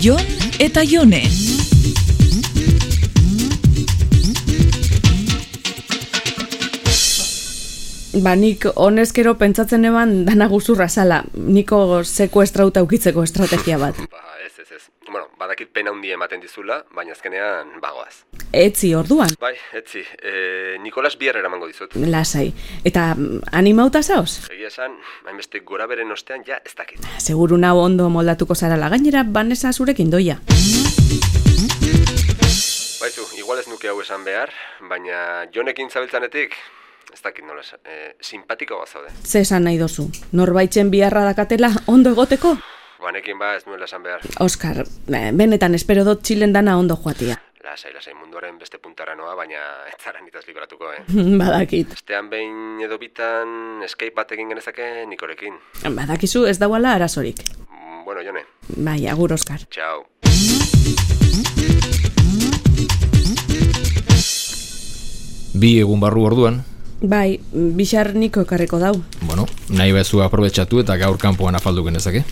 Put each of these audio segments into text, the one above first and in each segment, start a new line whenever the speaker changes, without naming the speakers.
Jon eta Jone.
Ba, nik honezkero pentsatzen eban dana guzurra zala, niko sekuestrauta ukitzeko estrategia bat.
Ba, ez, ez, ez. Bueno, badakit pena hundi ematen dizula, baina azkenean bagoaz.
Etzi orduan,
Bai, etzi, e, Nikolas bihar eramango dizut.
lasai. Eta mm, animauta zaoz?
Egia esan, hainbeste gora beren ostean ja ez dakit.
Seguru nau ondo moldatuko zarala gainera, banesa zurekin doia.
Baizu, igual Ba, ez nuke hau esan behar, baina jonekin zabiltzanetik, ez dakit nola esan, e, simpatiko bat zaude.
Ze esan nahi dozu, norbaitzen biharra dakatela ondo egoteko?
Banekin ba ez nuela esan behar.
Oskar, eh, benetan espero dut txilen dana ondo joatia.
Lasai, lasai, munduaren beste puntara noa, baina ez zara nitaz libratuko, eh?
Badakit.
Bestean behin edo bitan escape bat egin genezake Nikorekin.
Badakizu ez dauala arazorik.
Mm, Bueno, Jone,
Bai, agur Oskar.
txau.
Bi egun barru orduan,
Bai, bixar niko ekarriko dau.
bueno, nahi bezu aprobetsatu eta gaur kanpoan afaldu genezake.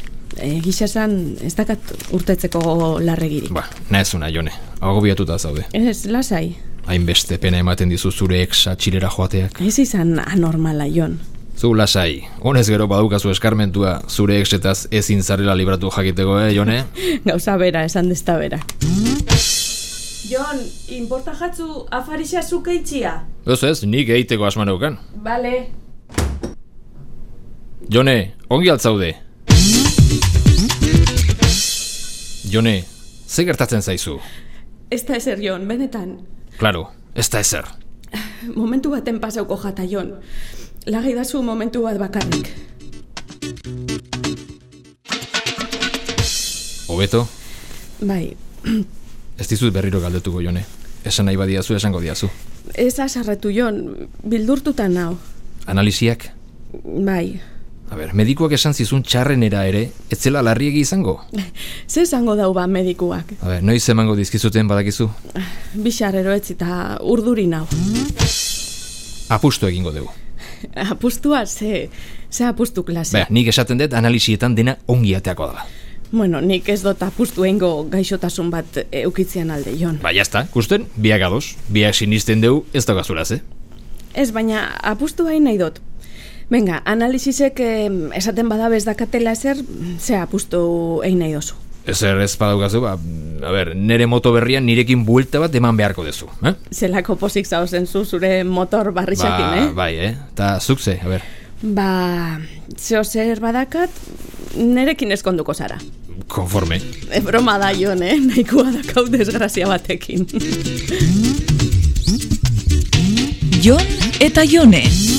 Egisa Eh, esan, ez dakat urtetzeko larregirik.
Ba, nahezuna, Jone, agobiatuta zaude.
Ez, lasai.
Hainbeste pena ematen dizu zure exa txilera joateak.
Ez izan anormala, Jon.
Zu lasai, honez gero badukazu eskarmentua zure exetaz ezin zarela libratu jakiteko, eh, Jone?
Gauza bera, esan dezta bera. Jon, inporta jatzu afarixa zuke itxia.
Ez ez, nik egiteko asmaneukan.
Bale.
Jone, ongi altzaude. Jone, ze gertatzen zaizu?
Ez da ezer, Jon, benetan.
Claro, ez da ezer.
Momentu baten pasauko jata, Jon. Lagai dazu momentu bat bakarrik.
Hobeto,
Bai,
ez dizut berriro galdetuko, Jone. Esan nahi badiazu, esango diazu.
ez azarretu, Jon. Bildurtuta nau.
Analisiak?
Bai.
A ber, medikuak esan zizun txarrenera ere, etzela larriegi izango?
Zer esango dau ba medikuak?
A ber, noiz emango dizkizuten badakizu?
Bixar eroetzi eta urduri nau.
Apustu egingo dugu.
Apustua, ze, ze apustu klase.
Bea, nik esaten dut analisietan dena ongi ateako dela.
Bueno, nik ez dut apustu engo gaixotasun bat eukitzean alde, Jon.
Ba, jazta, kusten, biak ados, biak sinisten dugu ez daukazulaz, eh?
Ez, baina apustu hain nahi dut. Venga, analizisek em, esaten badabez dakatela ezer, ze apustu egin nahi dozu.
Ezer ez badaukazu, ba, a ber, nere moto berrian nirekin buelta bat eman beharko duzu, eh?
Zelako pozik zauzen zu zure motor barrixakin, eh?
bai, eh? Ta zuk ze, a ber,
Ba, zeo zer badakat, nerekin eskonduko zara.
konforme.
E, broma da, Jon, eh? Nahikoa dakau desgrazia batekin.
Jon eta Jone.